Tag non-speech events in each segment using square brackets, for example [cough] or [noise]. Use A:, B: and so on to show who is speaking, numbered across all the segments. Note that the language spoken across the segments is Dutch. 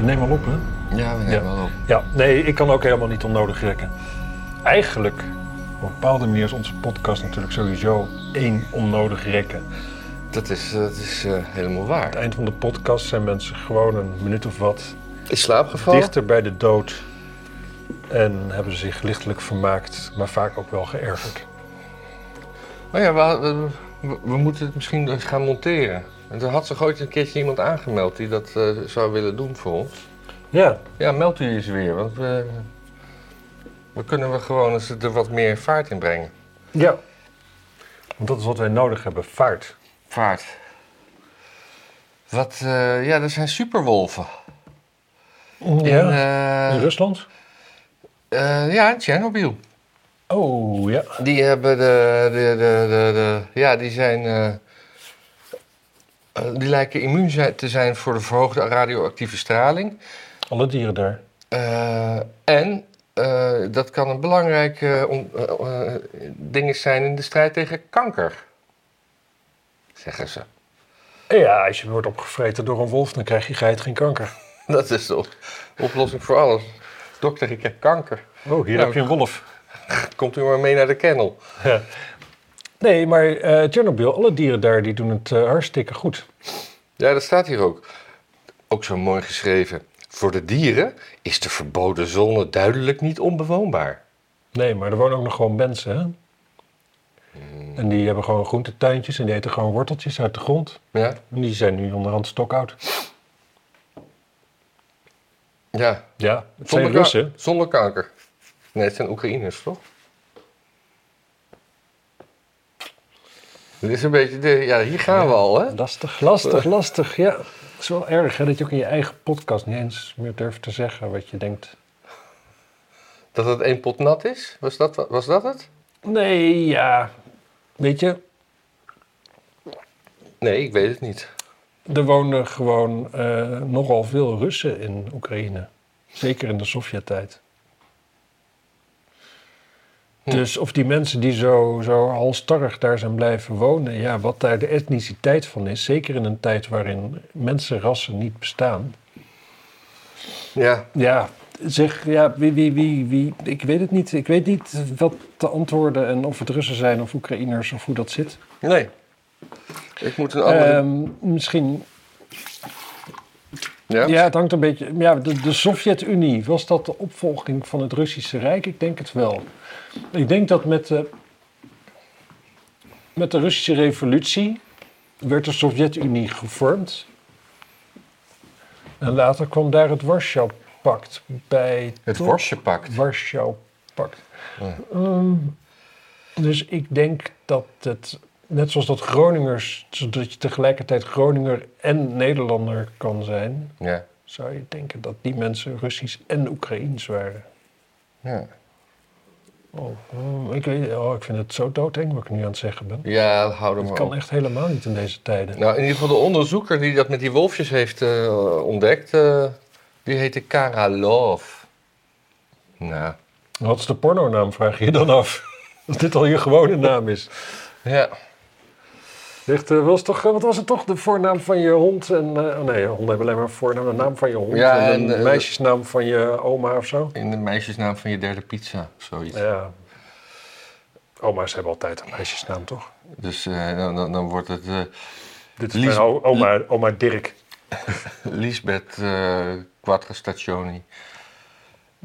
A: Neem maar op, hè?
B: Ja, we nemen
A: Ja.
B: wel op.
A: Ja, nee, ik kan ook helemaal niet onnodig rekken. Eigenlijk, op een bepaalde manier is onze podcast natuurlijk sowieso één onnodig rekken.
B: Dat is, dat is eh, helemaal
A: Aan
B: waar.
A: het eind van de podcast zijn mensen gewoon een minuut of wat
B: Is slaapgevallen?
A: dichter bij de dood. En hebben ze zich lichtelijk vermaakt, maar vaak ook wel geërgerd.
B: Oh ja, we, we, we- we moeten het misschien eens gaan monteren. En er had zich ooit een keertje iemand aangemeld die dat eh, zou willen doen voor ons.
A: Ja,
B: Ja, meld u eens weer, want we, we kunnen we gewoon eens er wat meer vaart in brengen.
A: ja. Want dat is wat wij nodig hebben, vaart.
B: Vaart. Wat, eh, ja, er zijn superwolven. In, eh,
A: In Rusland?
B: eh, ja, in Tsjernobyl.
A: Oh, ja.
B: Die hebben de, de, de, de, de- ja, die zijn, eh, eh, die lijken immuun zijn- te zijn voor de verhoogde radioactieve straling.
A: Alle dieren daar.
B: Eh, en eh, dat kan een belangrijk eh, om- eh, eh, ding zijn in de strijd tegen kanker, zeggen ze.
A: Ja, als je wordt opgevreten door een wolf, dan krijg je geit geen kanker.
B: Dat is de op- oplossing voor alles. Dokter, ik heb kanker.
A: Oh, hier
B: Ja.
A: heb je een wolf.
B: Komt u maar mee naar de kennel.
A: [laughs] Nee, maar eh Chernobyl, alle dieren daar, die doen het eh, hartstikke goed.
B: Ja, dat staat hier ook. Ook zo mooi geschreven. Voor de dieren is de verboden zone duidelijk niet onbewoonbaar.
A: Nee, maar er wonen ook nog gewoon mensen, hè?
B: Hmm.
A: En die hebben gewoon groentetuintjes en die eten gewoon worteltjes uit de grond.
B: Ja,
A: En die zijn nu onderhand stokoud.
B: ja.
A: Ja, het zijn
B: ka-
A: Russen.
B: zonder kanker. Nee, het zijn Oekraïners, toch? Dit is een beetje de... Ja, hier gaan we al, hè?
A: Lastig, lastig, lastig, ja. Het is wel erg, hè, dat je ook in je eigen podcast niet eens meer durft te zeggen wat je denkt.
B: Dat het één pot nat is. Was dat, was dat het?
A: Nee, ja. Weet je,
B: Nee, ik weet het niet.
A: Er wonen gewoon eh, nogal veel Russen in Oekraïne. Zeker in de Sovjet-tijd. Dus of die mensen die zo, zo halstarrig daar zijn blijven wonen, ja, wat daar de etniciteit van is, zeker in een tijd waarin mensenrassen niet bestaan.
B: Ja,
A: Ja, zeg, ja, wie, wie, wie, wie, ik weet het niet. Ik weet niet wat te antwoorden en of het Russen zijn of Oekraïners of hoe dat zit.
B: nee. Ik moet een andere...
A: Ehm, misschien
B: ja?
A: Ja, het hangt een beetje. Ja, de, de Sovjet-Unie, was dat de opvolging van het Russische Rijk? Ik denk het wel. Ik denk dat met de, met de Russische Revolutie werd de Sovjet-Unie gevormd. En later kwam daar het Warschau-pact bij.
B: Het
A: toch?
B: worstje pakt.
A: Warschau-pact. Ehm, dus ik denk dat het, net zoals dat Groningers, zodat je tegelijkertijd Groninger en Nederlander kan zijn,
B: Ja.
A: zou je denken dat die mensen Russisch en Oekraïens waren.
B: Ja.
A: Oh, mm, ik, weet, oh, ik vind het zo doodeng wat ik nu aan het zeggen ben.
B: ja, hou hem
A: Dat
B: op.
A: kan echt helemaal niet in deze tijden.
B: Nou, in ieder geval de onderzoeker die dat met die wolfjes heeft eh, ontdekt, eh, die heette Karalov. Nou,
A: Wat is de pornonaam, vraag je je dan af? [laughs] Als dit al je gewone naam is.
B: ja.
A: Echt, eh, was toch, eh, wat was het toch? De voornaam van je hond en... eh, oh nee, honden hebben alleen maar een voornaam. De naam van je hond
B: Ja,
A: en,
B: en,
A: de
B: eh,
A: meisjesnaam van je oma of zo.
B: In de meisjesnaam van je derde pizza, zoiets.
A: Ja. Oma's hebben altijd een meisjesnaam, toch?
B: Dus eh, dan, dan, dan wordt het eh
A: Dit is
B: Lies-
A: mijn o- oma, oma Dirk.
B: Lisbeth eh Quattro Stationi.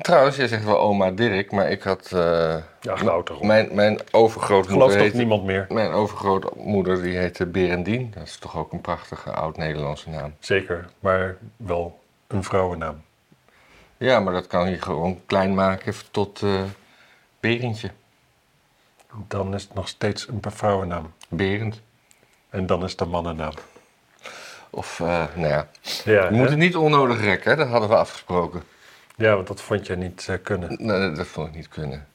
B: Trouwens, jij zegt wel oma Dirk, maar ik had... eh,
A: Ja, nou toch. Ik
B: mijn, mijn overgrootmoeder
A: geloof dat
B: heette...
A: niemand meer.
B: Mijn overgrootmoeder die heette Berendien. Dat is toch ook een prachtige oud-Nederlandse naam.
A: Zeker, maar wel een vrouwennaam.
B: Ja, maar dat kan je gewoon klein maken tot eh Berendje.
A: Dan is het nog steeds een vrouwennaam.
B: Berend.
A: En dan is het een mannennaam.
B: Of, eh, nou ja.
A: Ja,
B: We moeten het niet onnodig rekken, hè? dat hadden we afgesproken.
A: ja, want dat vond jij niet eh, kunnen.
B: Nee, dat- dat vond ik niet kunnen.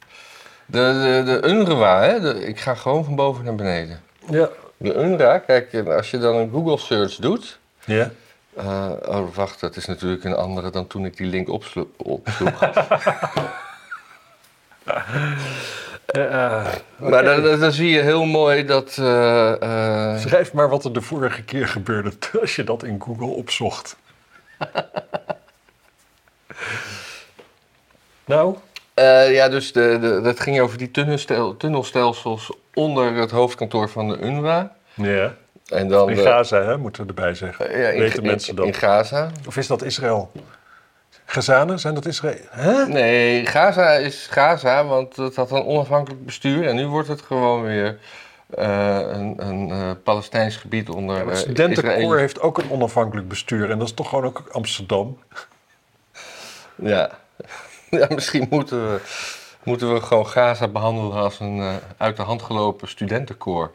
B: De, de, de UNRWA, hè? de- ik ga gewoon van boven naar beneden.
A: Ja.
B: De UNRWA, kijk, als je dan een Google search doet.
A: Ja?
B: eh, oh, wacht, dat is natuurlijk een andere dan toen ik die link opslo- opsloeg.
A: eh,
B: maar dan, dan- dan zie je heel mooi dat. eh, eh,
A: Schrijf [laughs] maar wat er de vorige keer gebeurde als je dat in Google opzocht.
C: Nou,
B: Eh, ja, dus de, de, dat ging over die tunnelstel- tunnelstelsels onder het hoofdkantoor van de UNRWA.
A: Ja.
B: En dan eh,
A: In
B: de-
A: Gaza, hè, moeten we erbij zeggen.
B: eh, ja, in,
A: Weten
B: in-
A: mensen dat?
B: in Gaza.
A: Of is dat Israël? Gazanen, zijn dat Israël? Hè?
B: Nee, Gaza is Gaza, want het had een onafhankelijk bestuur. En nu wordt het gewoon weer eh, een, een eh, Palestijns gebied onder
A: Ja,
B: eh,
A: maar het
B: Israël.
A: studentenkoor heeft ook een onafhankelijk bestuur. En dat is toch gewoon ook Amsterdam?
B: Ja. [laughs] ja, misschien moeten we, moeten we gewoon Gaza behandelen als een eh, uit de hand gelopen studentenkoor.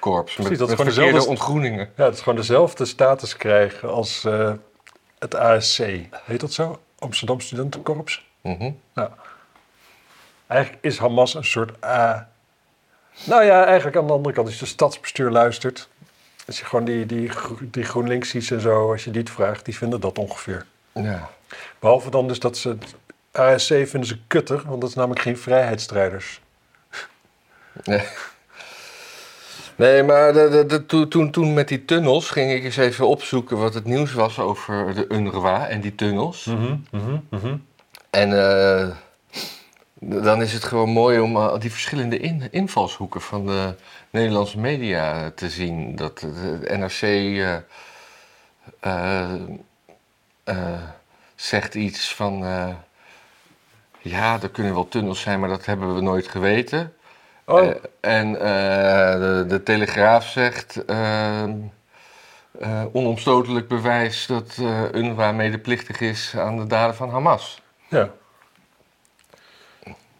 B: Korps, met,
A: Precies, dat is
B: met
A: gewoon
B: verkeerde
A: dezelfde-
B: ontgroeningen.
A: Ja, het is gewoon dezelfde status krijgen als eh, het ASC. Heet dat zo? Amsterdam Studentenkorps?
B: Mhm.
A: Eigenlijk is Hamas een soort A. Nou ja, eigenlijk aan de andere kant, als je de stadsbestuur luistert. Als je gewoon die, die, gro- die GroenLinksies en zo, als je die het vraagt, die vinden dat ongeveer.
B: Ja.
A: Behalve dan dus dat ze het ASC vinden ze kutter, want dat is namelijk geen vrijheidsstrijders.
B: Nee. Nee, maar de, de, de- toen- toen, toen met die tunnels ging ik eens even opzoeken wat het nieuws was over de UNRWA en die tunnels.
A: Hm. Mhm,
B: En eh, d- dan is het gewoon mooi om eh, die verschillende in- invalshoeken van de Nederlandse media eh, te zien. Dat eh, de NRC eh, eh, eh, zegt iets van. eh, ja, er kunnen wel tunnels zijn, maar dat hebben we nooit geweten.
A: Oh,
B: Eh, en eh, de, de Telegraaf zegt. ehm, eh, onomstotelijk bewijs dat eh UNRWA medeplichtig is aan de daden van Hamas.
A: ja.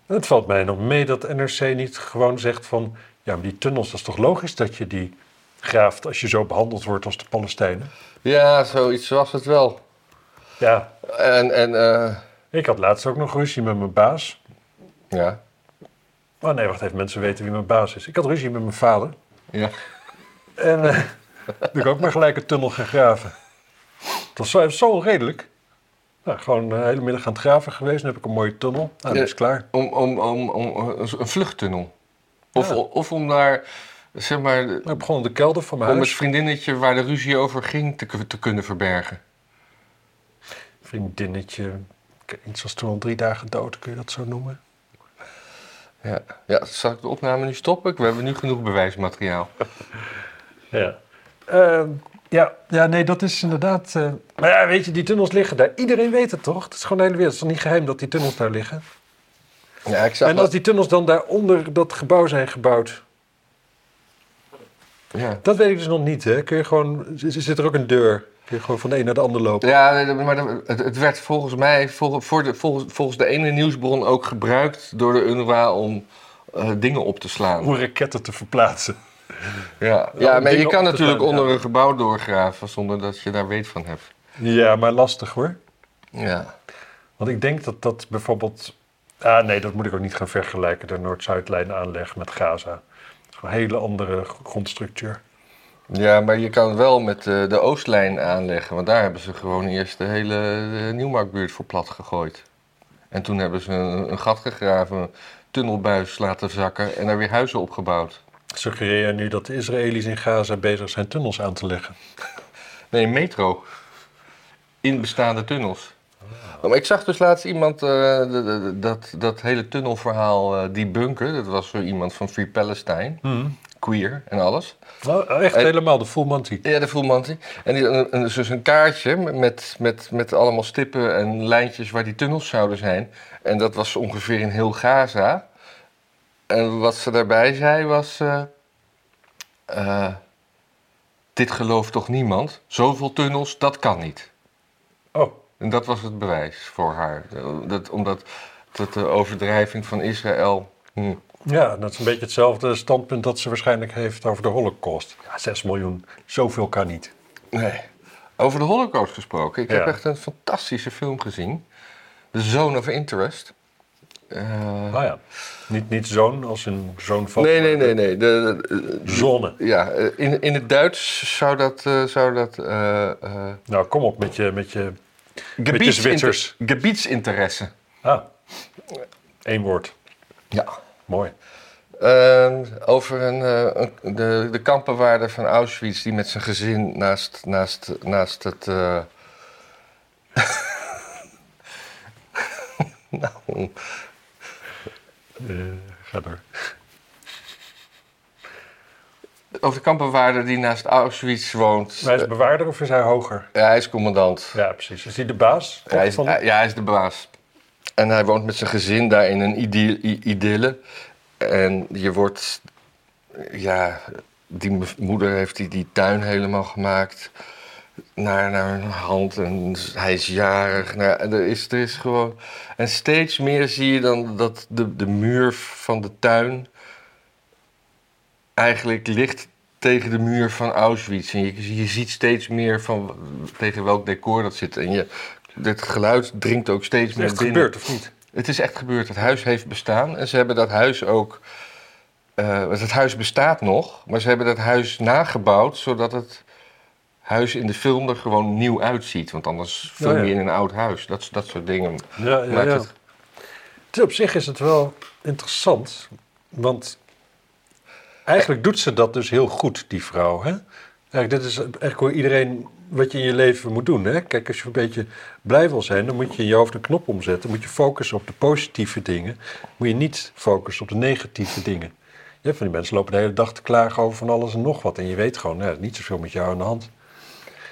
A: Het valt mij nog mee dat NRC niet gewoon zegt van... Ja, maar die tunnels, dat is toch logisch dat je die graaft als je zo behandeld wordt als de Palestijnen?
B: Ja, zoiets was het wel.
A: Ja,
B: En, en eh,
A: ik had laatst ook nog ruzie met mijn baas.
B: ja.
A: Oh nee, wacht even, mensen weten wie mijn baas is. Ik had ruzie met mijn vader.
B: ja.
A: En eh [laughs] heb ik ook maar gelijk een tunnel gegraven. Dat was zo, zo onredelijk. Nou, gewoon de hele middag aan het graven geweest. Dan heb ik een mooie tunnel. Nou, dat is klaar.
B: Om, om, om, om eh, een vluchttunnel. Of,
A: Ja.
B: of om daar, zeg maar,
A: Dan Nou, begon de kelder van mijn
B: om het
A: huis.
B: vriendinnetje waar de ruzie over ging te, ku- te kunnen verbergen.
A: Vriendinnetje. Ik- Iets als toen al drie dagen dood, kun je dat zo noemen?
B: Ja. ja, zal ik de opname nu stoppen? We hebben nu genoeg bewijsmateriaal.
A: Ja. Eh, ja, ja, nee, dat is inderdaad... eh, Maar ja, weet je, die tunnels liggen daar. Iedereen weet het toch? Het is gewoon de hele wereld. Het is toch niet geheim dat die tunnels daar liggen?
B: Ja, ik zag
A: en als die tunnels dan daaronder dat gebouw zijn gebouwd...
B: dat- Ja.
A: Dat weet ik dus nog niet, hè? Kun je gewoon, z- zit er ook een deur? Kun je gewoon van de een naar de ander lopen?
B: Ja, nee, maar dat- het, het werd volgens mij, vol- voor de, volgens, volgens de ene nieuwsbron ook gebruikt door de UNRWA om eh, dingen op te slaan.
A: Om raketten te verplaatsen.
B: Ja,
A: om
B: ja maar je
A: dingen
B: kan
A: op te
B: natuurlijk
A: ruimen,
B: onder een gebouw doorgraven zonder dat je daar weet van hebt.
A: Ja, maar lastig hoor.
B: Ja.
A: Want ik denk dat dat bijvoorbeeld... Ah nee, dat moet ik ook niet gaan vergelijken. De Noord-Zuidlijn aanleg met Gaza. Dat is gewoon Een hele andere gr- grondstructuur.
B: ja, maar je kan wel met eh, de Oostlijn aanleggen, want daar hebben ze gewoon eerst de hele eh, Nieuwmarktbuurt voor plat gegooid. En toen hebben ze een, een gat gegraven, een tunnelbuis laten zakken en daar weer huizen opgebouwd.
A: Suggereer je nu dat de Israëli's in Gaza bezig zijn tunnels aan te leggen?
B: Nee, metro. In bestaande tunnels. Maar ik zag dus laatst iemand eh, d- d- d- dat, dat hele tunnelverhaal eh, debunken. Dat was zo iemand van Free Palestine, queer en alles.
A: Nou, echt
B: Eh,
A: helemaal, de full monty.
B: Ja, de voelmantie. En die, een, een- dus een kaartje met, met, met allemaal stippen en lijntjes waar die tunnels zouden zijn. En dat was ongeveer in heel Gaza. En wat ze daarbij zei was... eh, eh, dit gelooft toch niemand? Zoveel tunnels, dat kan niet.
A: Oh,
B: En dat was het bewijs voor haar. Dat, omdat dat de overdrijving van Israël... hm,
A: ja, dat is een beetje hetzelfde standpunt dat ze waarschijnlijk heeft over de holocaust. Ja, 6 miljoen, zoveel kan niet.
B: Nee. Over de Holocaust gesproken. Ik heb
A: Ja.
B: echt een fantastische film gezien. The Zone of Interest. Eh,
A: Nou ja, niet, niet zoon als een zoon van...
B: nee, nee, nee, nee. De, de- de-
A: Zonne.
B: ja, eh, in, in het Duits zou dat. eh, zou dat eh, eh,
A: Nou, kom op met je... Met je...
B: gebiedsinter-
A: Zwitzers.
B: gebiedsinteresse.
A: Ah, één woord.
B: Ja.
A: Mooi.
B: Eh, over een, eh, een- de, de kampenwaarder van Auschwitz die met zijn gezin naast, naast, naast het. eh, [laughs] nou, om-
A: Eh, ga door.
B: Over de kampbewaarder die naast Auschwitz woont.
A: Maar hij is bewaarder of is hij hoger?
B: Ja, hij is commandant.
A: Ja, precies. Is hij de baas?
B: Ja, hij is,
A: Van-
B: hij- ja, hij is de baas. En hij woont met zijn gezin daar in een idy- i- idylle. En je wordt... Ja, die m- moeder heeft die, die tuin helemaal gemaakt. Naar, naar hun hand. En hij is jarig. Nou, en er, is, er is gewoon... En steeds meer zie je dan dat de, de muur van de tuin... eigenlijk ligt tegen de muur van Auschwitz. En je, je ziet steeds meer van tegen welk decor dat zit. En je, het geluid dringt ook steeds
A: Is
B: meer
A: het echt
B: binnen.
A: gebeurd of niet?
B: Het is echt gebeurd. Het huis heeft bestaan. En ze hebben dat huis ook. eh, want het huis bestaat nog, maar ze hebben dat huis nagebouwd zodat het huis in de film er gewoon nieuw uitziet. Want anders film
A: Oh ja.
B: je in een oud huis. Dat, dat soort dingen.
A: Ja, ja,
B: Maakt
A: ja.
B: het-
A: Het- Op zich is het wel interessant, want eigenlijk doet ze dat dus heel goed, die vrouw. Hè? Eigenlijk, dit is eigenlijk hoe iedereen wat je in je leven moet doen. Hè? Kijk, als je een beetje blij wil zijn, dan moet je in je hoofd een knop omzetten. moet je focussen op de positieve dingen. Moet je niet focussen op de negatieve dingen. Je hebt van die mensen lopen de hele dag te klagen over van alles en nog wat. En je weet gewoon, nou, er is niet zoveel met jou aan de hand.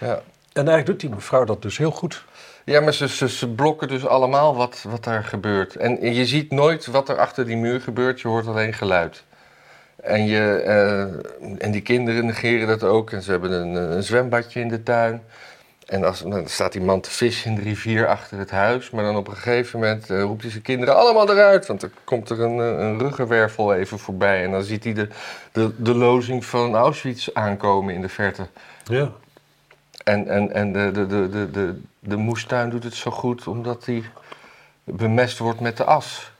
B: Ja.
A: En eigenlijk doet die mevrouw dat dus heel goed.
B: Ja, maar ze, ze, ze blokken dus allemaal wat, wat daar gebeurt. En je ziet nooit wat er achter die muur gebeurt, je hoort alleen geluid. En, je, eh, en die kinderen negeren dat ook. En ze hebben een, eh, een zwembadje in de tuin. En als, dan staat die man te vissen in de rivier achter het huis. Maar dan op een gegeven moment eh, roept hij zijn kinderen allemaal eruit. Want dan komt er een, eh, een ruggenwervel even voorbij. En dan ziet hij de, de, de lozing van Auschwitz aankomen in de verte.
A: Ja.
B: En, en, en de, de, de, de, de, de moestuin doet het zo goed omdat die bemest wordt met de as.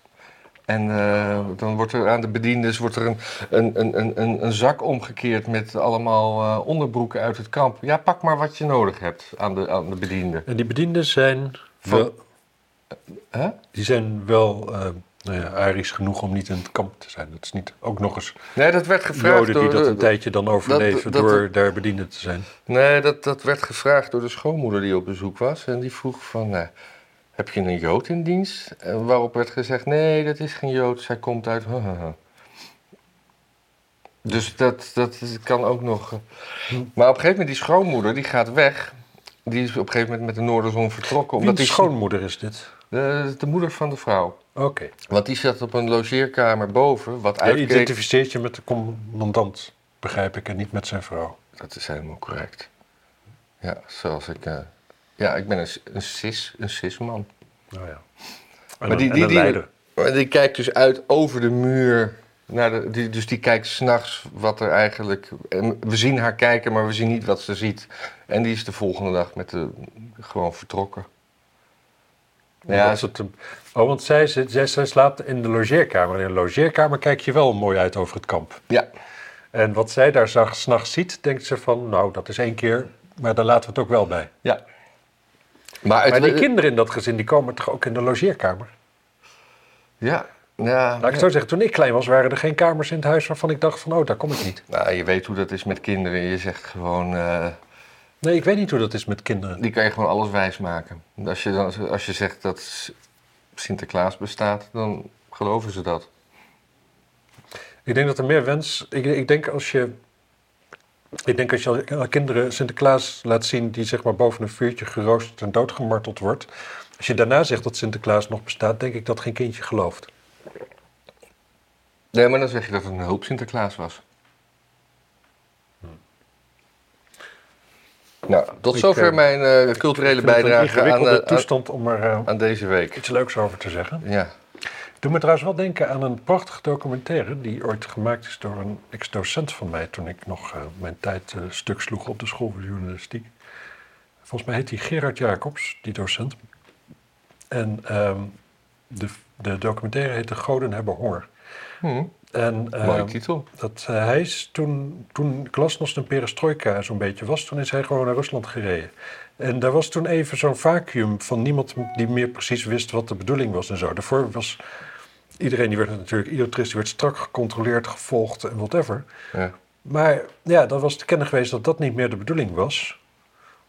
B: En eh, dan wordt er aan de bediendes wordt er een, een, een, een- een, een zak omgekeerd met allemaal eh, onderbroeken uit het kamp. Ja, pak maar wat je nodig hebt aan de, aan de bediende.
A: En die bedienden zijn
B: Van-
A: wel-
B: Hè?
A: Die zijn wel eh nou ja, arisch genoeg om niet in het kamp te zijn. Dat is niet ook nog eens
B: Nee, dat werd gevraagd
A: joden die
B: door...
A: dat
B: de-
A: een tijdje dan overleven
B: dat- dat-
A: door daar bediende te zijn.
B: Nee, dat, dat werd gevraagd door de schoonmoeder die op bezoek was. En die vroeg van, eh, heb je een Jood in dienst? En waarop werd gezegd, nee, dat is geen Jood, zij komt uit... Dus dat, dat kan ook nog... eh. Maar op een gegeven moment, die schoonmoeder, die gaat weg. Die is op een gegeven moment met de Noorderzon vertrokken.
A: Omdat
B: Omdat
A: die
B: die
A: schoonmoeder is dit.
B: de, de moeder van de vrouw.
A: Oké.
B: Want die zat op een logeerkamer boven, wat
A: Hij
B: uitkeek...
A: identificeert je met de commandant, begrijp ik, en niet met zijn vrouw.
B: Dat is helemaal correct. Ja, zoals ik... eh, ja, ik ben een, s- een cis, een cisman.
A: Nou ja. En
B: Maar
A: een-
B: die-
A: en
B: die-
A: een
B: die-
A: leider.
B: Maar die kijkt dus uit over de muur. Naar de, die, dus die kijkt s'nachts wat er eigenlijk. en We zien haar kijken, maar we zien niet wat ze ziet. En die is de volgende dag met de, gewoon vertrokken.
A: Ja,
B: Ja,
A: als het, hem- oh, want zij, zit, zij, zij slaapt in de logeerkamer. In de logeerkamer kijk je wel mooi uit over het kamp.
B: ja,
A: En wat zij daar zag, s'nachts ziet, denkt ze van, nou, dat is één keer, maar daar laten we het ook wel bij.
B: ja. Maar, het,
A: Maar die kinderen in dat gezin, die komen toch ook in de logeerkamer?
B: Ja, ja.
A: Laat ik het zo zeggen, toen ik klein was, waren er geen kamers in het huis waarvan ik dacht van, oh, daar kom ik niet.
B: Nou, je weet hoe dat is met kinderen. Je zegt gewoon. eh,
A: Nee, ik weet niet hoe dat is met kinderen.
B: die kan je gewoon alles wijs maken. Als je, dan, als je zegt dat S- Sinterklaas bestaat, dan geloven ze dat.
A: Ik denk dat er meer wens... Ik, ik denk als je... Ik denk als je aan kinderen Sinterklaas laat zien die zeg maar boven een vuurtje geroosterd en doodgemarteld wordt. Als je daarna zegt dat Sinterklaas nog bestaat, denk ik dat geen kindje gelooft.
B: Nee, maar dan zeg je dat het een hulp Sinterklaas was. Nou, tot
A: Hm. Ik,
B: zover
A: eh,
B: mijn eh, culturele
A: Ik vind het een
B: bijdrage aan,
A: ingewikkelde
B: eh, aan,
A: toestand om er eh,
B: aan deze week.
A: iets leuks over te zeggen.
B: Ja.
A: Doe me trouwens wel denken aan een prachtige documentaire die ooit gemaakt is door een ex-docent van mij toen ik nog eh, mijn tijd eh, stuk sloeg op de school voor journalistiek. Volgens mij heet die Gerard Jacobs, die docent. En ehm, de, de documentaire heet De Goden hebben honger.
B: Hm,
A: En ehm,
B: mooie titel.
A: dat, eh, hij is toen, toen Glasnost en Perestroika zo'n beetje was, toen is hij gewoon naar Rusland gereden. En daar was toen even zo'n vacuüm van niemand die meer precies wist wat de bedoeling was en zo. Daarvoor was iedereen, die werd natuurlijk, ieder toerist, die werd strak gecontroleerd, gevolgd en whatever.
B: Ja.
A: Maar ja, dan was te kennen geweest dat dat niet meer de bedoeling was.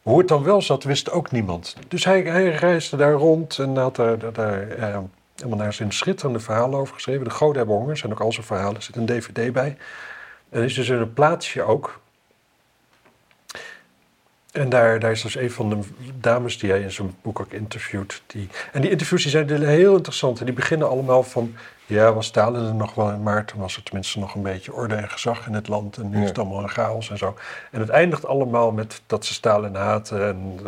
A: Hoe het dan wel zat, wist ook niemand. Dus hij, hij reisde daar rond en had daar, daar, daar, eh, Allemaal daar zijn schitterende verhalen over geschreven. De goden hebben honger, zijn ook al zijn verhalen. Er zit een dvd bij. En er is dus een plaatsje ook. En daar, daar is dus een van de dames die hij in zijn boek ook interviewt. Die, en die interviews die zijn dus heel interessant. En die beginnen allemaal van... Ja, was Stalin er nog wel in maart? Toen was er tenminste nog een beetje orde en gezag in het land. En nu
B: Ja.
A: is het allemaal een chaos en zo. En het eindigt allemaal met dat ze Stalin haten. En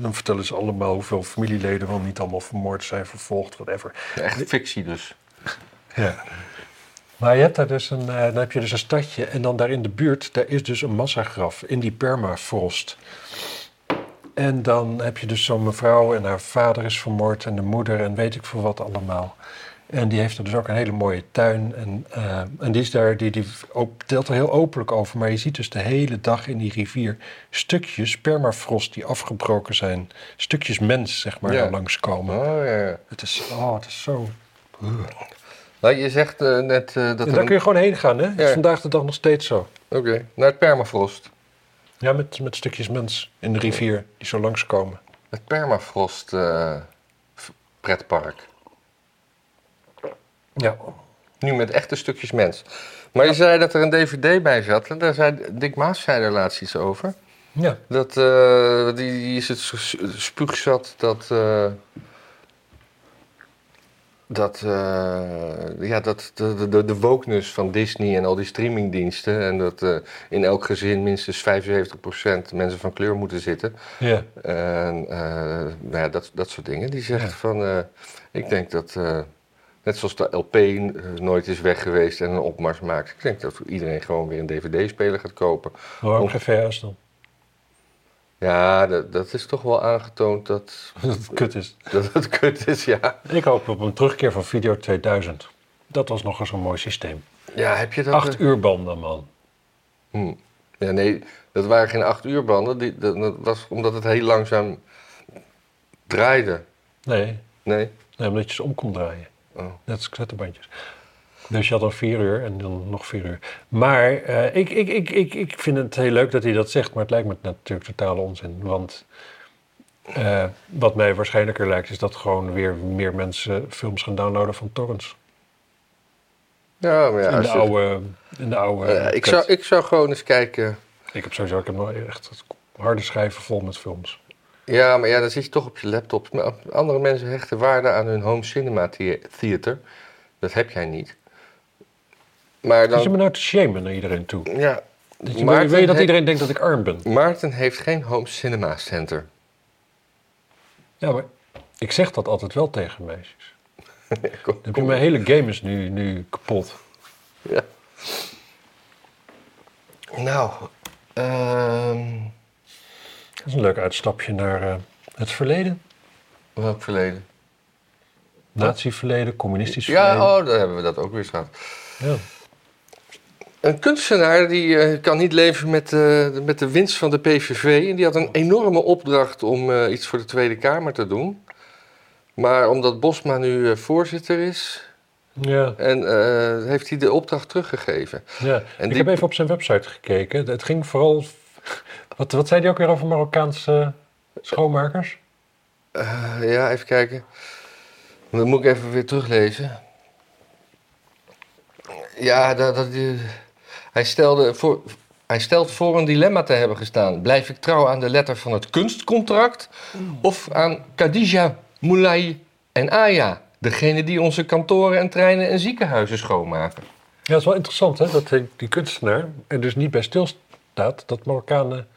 A: dan vertellen ze allemaal hoeveel familieleden wel niet allemaal vermoord zijn, vervolgd, whatever.
B: Echt fictie dus.
A: Ja. Maar je hebt daar dus een, eh, dan heb je dus een stadje en dan daar in de buurt, daar is dus een massagraf in die permafrost. En dan heb je dus zo'n mevrouw en haar vader is vermoord en de moeder en weet ik veel wat allemaal. En die heeft er dus ook een hele mooie tuin. En, eh, en die is daar, die, die op, deelt er heel openlijk over. Maar je ziet dus de hele dag in die rivier stukjes permafrost die afgebroken zijn. Stukjes mens, zeg maar,
B: Ja.
A: daar langskomen.
B: Oh, ja, ja.
A: Het is, oh, het is zo
B: Nou, je zegt eh, net eh, dat
A: en
B: er...
A: daar kun je gewoon heen gaan, hè? Dat is
B: Ja.
A: vandaag de dag nog steeds zo.
B: Oké, naar het permafrost.
A: Ja, met, met stukjes mens in de rivier die zo langskomen.
B: Het permafrost eh, v- pretpark.
A: Ja.
B: Nu met echte stukjes mens. Maar je zei dat er een dvd bij zat. En daar zei Dick Maas zei er laatst iets over.
A: Ja.
B: Dat, eh, die, die is het s- spuugzat dat... eh, dat, eh, ja, dat de, de- de, de wokeness van Disney en al die streamingdiensten... en dat eh, in elk gezin minstens 75% mensen van kleur moeten zitten...
A: ja.
B: En eh, nou ja, dat, dat soort dingen. Die zegt
A: Ja.
B: van, eh, ik denk dat, eh, net zoals de LP eh, nooit is weg geweest en een opmars maakt. Ik denk dat iedereen gewoon weer een dvd-speler gaat kopen.
A: Maar ook
B: Om-
A: geen VHS dan.
B: Ja, dat, dat is toch wel aangetoond dat,
A: [laughs] Dat het kut is.
B: dat het kut is, ja.
A: Ik hoop op een terugkeer van Video 2000. Dat was nog eens een mooi systeem.
B: Ja, heb je dat?
A: Acht
B: eh?
A: uur banden, man.
B: Hm. Ja, nee, dat waren geen acht uur banden. Die, dat, dat was omdat het heel langzaam draaide.
A: Nee,
B: Nee?
A: nee omdat je ze om kon draaien.
B: Oh.
A: Net als cassettebandjes. Dus je had al vier uur en dan nog vier uur. Maar eh, ik, ik, ik, ik, ik vind het heel leuk dat hij dat zegt, maar het lijkt me natuurlijk totale onzin. Want eh, wat mij waarschijnlijker lijkt, is dat gewoon weer meer mensen films gaan downloaden van torrents.
B: Ja, maar ja.
A: in,
B: als
A: de
B: je-
A: oude, in de oude.
B: Eh, ik,
A: cut.
B: zou, ik zou gewoon eens kijken...
A: ik heb sowieso ik heb nog echt harde schijven vol met films.
B: Ja, maar ja, dan zit je toch op je laptop. Maar Andere mensen hechten waarde aan hun home cinema thea- theater. Dat heb jij niet. Maar
A: Dan... Is je
B: dan...
A: me nou te shamen naar iedereen toe?
B: Ja,
A: Dat je,
B: Maarten
A: wil je dat
B: heeft-
A: iedereen denkt dat ik arm ben?
B: Maarten heeft geen home cinema center.
A: Ja, maar ik zeg dat altijd wel tegen meisjes. [laughs]
B: Kom,
A: Dan heb je
B: kom.
A: mijn hele game is nu, nu kapot.
B: Ja. Nou, ehm,
A: Dat is een leuk uitstapje naar eh, het verleden.
B: welk verleden?
A: Nazi-verleden, communistisch verleden.
B: Ja, oh, daar hebben we dat ook weer eens gehad.
A: Ja.
B: Een kunstenaar die eh, kan niet leven met, eh, de- met de winst van de PVV. En die had een enorme opdracht om eh, iets voor de Tweede Kamer te doen. Maar omdat Bosma nu eh, voorzitter is,
A: Ja,
B: en, eh, heeft hij de opdracht teruggegeven.
A: ja.
B: En
A: ik
B: die-
A: heb even op zijn website gekeken. Het ging vooral... Wat, wat zei hij ook weer over Marokkaanse schoonmakers?
B: Eh, ja, even kijken. Dan moet ik even weer teruglezen. Ja, dat, dat, eh, hij, stelde voor, hij stelt voor een dilemma te hebben gestaan. Blijf ik trouw aan de letter van het kunstcontract of aan Khadija, Moulay en Aya? Degene die onze kantoren en treinen en ziekenhuizen schoonmaken.
A: Ja, dat is wel interessant hè, dat die- die kunstenaar er dus niet bij stilstaat dat Marokkanen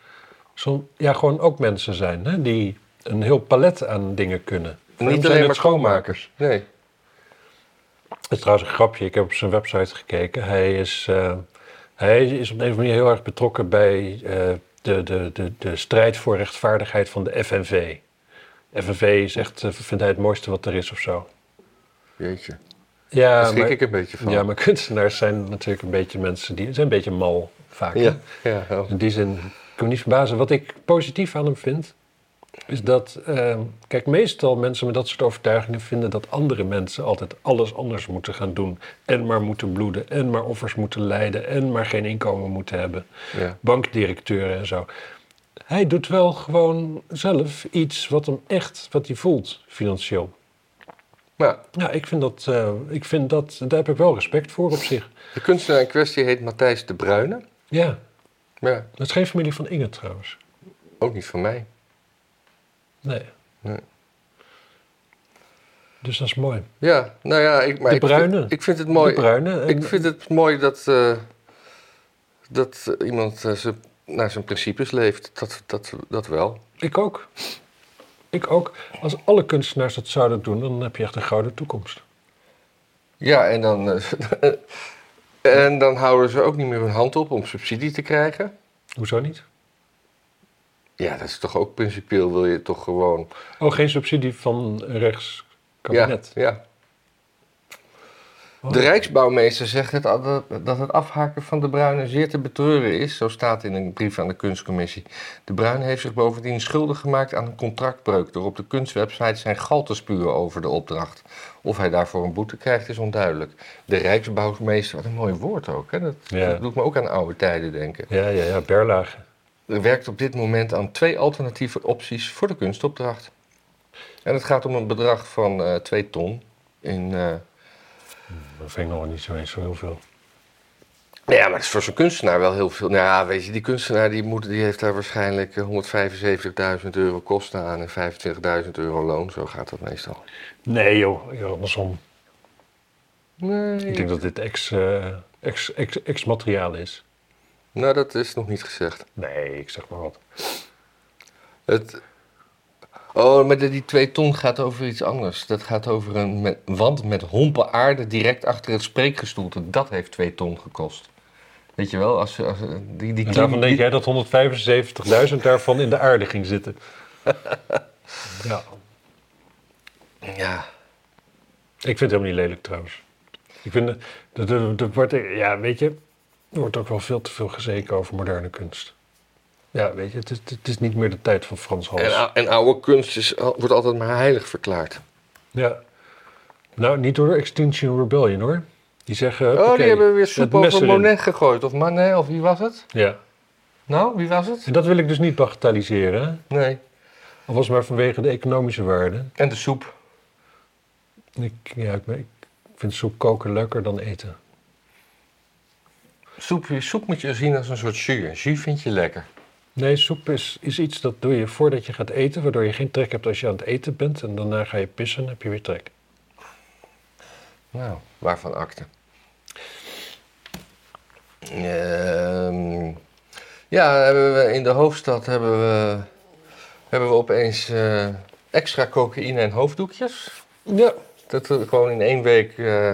A: zo, ja, gewoon ook mensen zijn hè, die een heel palet aan dingen kunnen. Voor hem
B: Niet
A: zijn
B: alleen
A: het
B: maar schoonmakers. Nee.
A: Het is trouwens een grapje. Ik heb op zijn website gekeken. Hij is, eh, hij is op een of andere manier heel erg betrokken bij eh, de, de, de, de strijd voor rechtvaardigheid van de FNV. FNV is echt, eh, vindt hij het mooiste wat er is of zo.
B: Jeetje, daar
A: Ja,
B: schrik
A: maar,
B: ik een beetje van.
A: ja, maar kunstenaars zijn natuurlijk een beetje mensen die zijn een beetje mal vaak. hè?
B: ja, ja, wel.
A: Dus in die zin kan ik me niet verbazen. Wat ik positief aan hem vind, is dat... eh, kijk, meestal mensen met dat soort overtuigingen vinden dat andere mensen altijd alles anders moeten gaan doen. En maar moeten bloeden, en maar offers moeten leiden, en maar geen inkomen moeten hebben.
B: ja.
A: Bankdirecteuren en zo. Hij doet wel gewoon zelf iets wat hem echt, wat hij voelt financieel.
B: Nou,
A: Ja, ik vind dat, eh, ik vind dat, daar heb ik wel respect voor op zich.
B: de kunstenaar in kwestie heet Matthijs de Bruyne.
A: Ja,
B: Ja,
A: dat is geen familie van Inge trouwens.
B: ook niet van mij.
A: Nee.
B: Nee.
A: Dus dat is mooi.
B: Ja, nou ja, ik, maar
A: De
B: ik,
A: Bruyne.
B: Vind, ik vind het mooi.
A: De bruine. eh, En,
B: Ik vind het mooi dat, eh, dat eh, iemand eh, ze- naar zijn principes leeft. Dat, dat, dat wel.
A: ik ook. Ik ook. Als alle kunstenaars dat zouden doen, dan heb je echt een gouden toekomst.
B: Ja, en dan, eh, [laughs] en dan houden ze ook niet meer hun hand op om subsidie te krijgen.
A: Hoezo niet?
B: Ja, dat is toch ook principieel, wil je toch gewoon...
A: Oh, geen subsidie van rechts
B: Ja,
A: kabinet.
B: ja.
A: Oh.
B: De Rijksbouwmeester zegt het, al- dat- dat het afhaken van de Bruine zeer te betreuren is, zo staat in een brief aan de kunstcommissie. De Bruin heeft zich bovendien schuldig gemaakt aan een contractbreuk door op de kunstwebsite zijn gal te spuwen over de opdracht. Of hij daarvoor een boete krijgt is onduidelijk. De Rijksbouwmeester, wat een mooi woord ook, hè? Dat,
A: Ja.
B: dat doet me ook aan oude tijden denken.
A: Ja, ja, ja, Berlage.
B: Er werkt op dit moment aan twee alternatieve opties voor de kunstopdracht. En het gaat om een bedrag van eh 2 ton in... eh,
A: Dat vind ik nog niet zo eens zo heel veel.
B: Nou Ja, maar dat is voor zo'n kunstenaar wel heel veel. Nou ja, weet je, die kunstenaar die, moet, die heeft daar waarschijnlijk eh, 175.000 euro kosten aan en 25.000 euro loon. Zo gaat dat meestal.
A: Nee joh, Ja, andersom.
B: Nee.
A: Ik denk dat dit ex-materiaal ex, ex, ex materiaal is.
B: Nou, dat is nog niet gezegd.
A: Nee, ik zeg maar wat.
B: Het... Oh, maar de- die twee ton gaat over iets anders. Dat gaat over een me- wand met hompen aarde direct achter het spreekgestoelte. Dat heeft twee ton gekost. Weet je wel, als, als die, die
A: En daarvan denk
B: die-
A: jij dat 175.000 daarvan in de aarde ging
B: [laughs]
A: zitten. ja.
B: Ja,
A: Ik vind het helemaal niet lelijk trouwens. Ik vind, eh, dat er- er wordt, eh, ja, weet je, er wordt ook wel veel te veel gezeken over moderne kunst. Ja, weet je, het is, het is niet meer de tijd van Frans Hals.
B: en, ah. ou- en oude kunst is, al- wordt altijd maar heilig verklaard.
A: Ja. Nou, niet door de Extinction Rebellion hoor. Die zeggen.
B: Oh,
A: huppakee,
B: die hebben weer
A: het
B: soep
A: mes
B: over
A: erin.
B: Monet gegooid. Of Manet, of wie was het?
A: Ja.
B: Nou, wie
A: [laughs]
B: was het?
A: En dat wil ik dus niet bagatelliseren. hè.
B: Nee.
A: Al was het maar vanwege de economische waarde.
B: En de soep.
A: Ik, ja, ik, ik vind soep koken leuker dan eten.
B: Soep, soep moet je zien als een soort jus. En jus vind je lekker.
A: Nee, soep is, is iets dat doe je voordat je gaat eten, waardoor je geen trek hebt als je aan het eten bent. En daarna ga je pissen en heb je weer trek.
B: Nou, waarvan akte? Ehm, ja, hebben we in de hoofdstad hebben we, hebben we opeens eh, extra cocaïne en hoofddoekjes.
A: Ja,
B: Dat we gewoon in één week eh,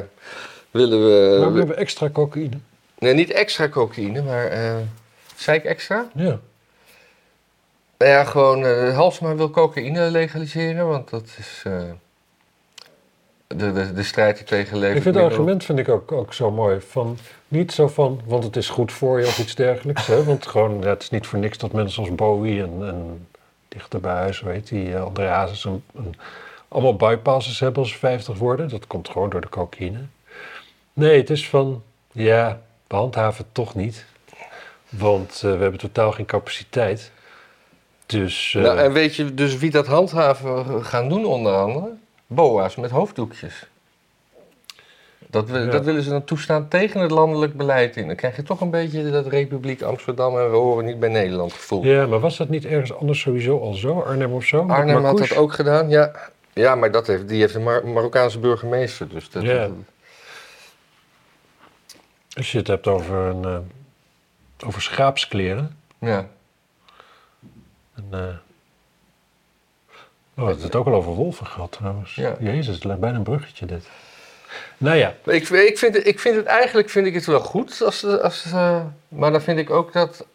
B: willen
A: maar Eh, we
B: we...
A: hebben extra cocaïne.
B: Nee, niet extra cocaïne, maar... eh zei ik extra?
A: Ja.
B: Nou ja, gewoon eh Halsema wil cocaïne legaliseren, want dat is eh, de, de, de strijd die tegen levend
A: Ik vind het
B: middel-
A: argument vind ik ook, ook zo mooi. Van, niet zo van, want het is goed voor je of iets dergelijks. Hè? Want gewoon, ja, het is niet voor niks dat mensen als Bowie en, en dichter bij huis, weet die eh, André Hazes, en, en allemaal bypasses hebben als ze 50 worden. Dat komt gewoon door de cocaïne. Nee, het is van, ja, we handhaven het toch niet. Want eh, we hebben totaal geen capaciteit. Dus, eh,
B: Nou, en weet je dus wie dat handhaven eh, gaan doen onder andere? Boa's met hoofddoekjes. Dat, wil-
A: Ja.
B: dat willen ze dan toestaan tegen het landelijk beleid in. Dan krijg je toch een beetje dat Republiek Amsterdam en we horen niet bij Nederland gevoel.
A: ja, maar was dat niet ergens anders sowieso al zo? Arnhem of zo? Met
B: Arnhem had
A: Marcouch?
B: dat ook gedaan, ja. Ja, maar dat heeft, die heeft een Mar- Marokkaanse burgemeester. Dus dat,
A: Ja. Als je het hebt over, een, eh, over schaapskleren.
B: ja.
A: En, eh, Oh, we hebben het ook al over wolven gehad trouwens.
B: Ja.
A: Jezus, het lijkt bijna een bruggetje dit. Nou ja,
B: Ik, ik, vind, het- ik vind het eigenlijk vind ik het wel goed. Als, de- als, eh, maar dan vind ik ook dat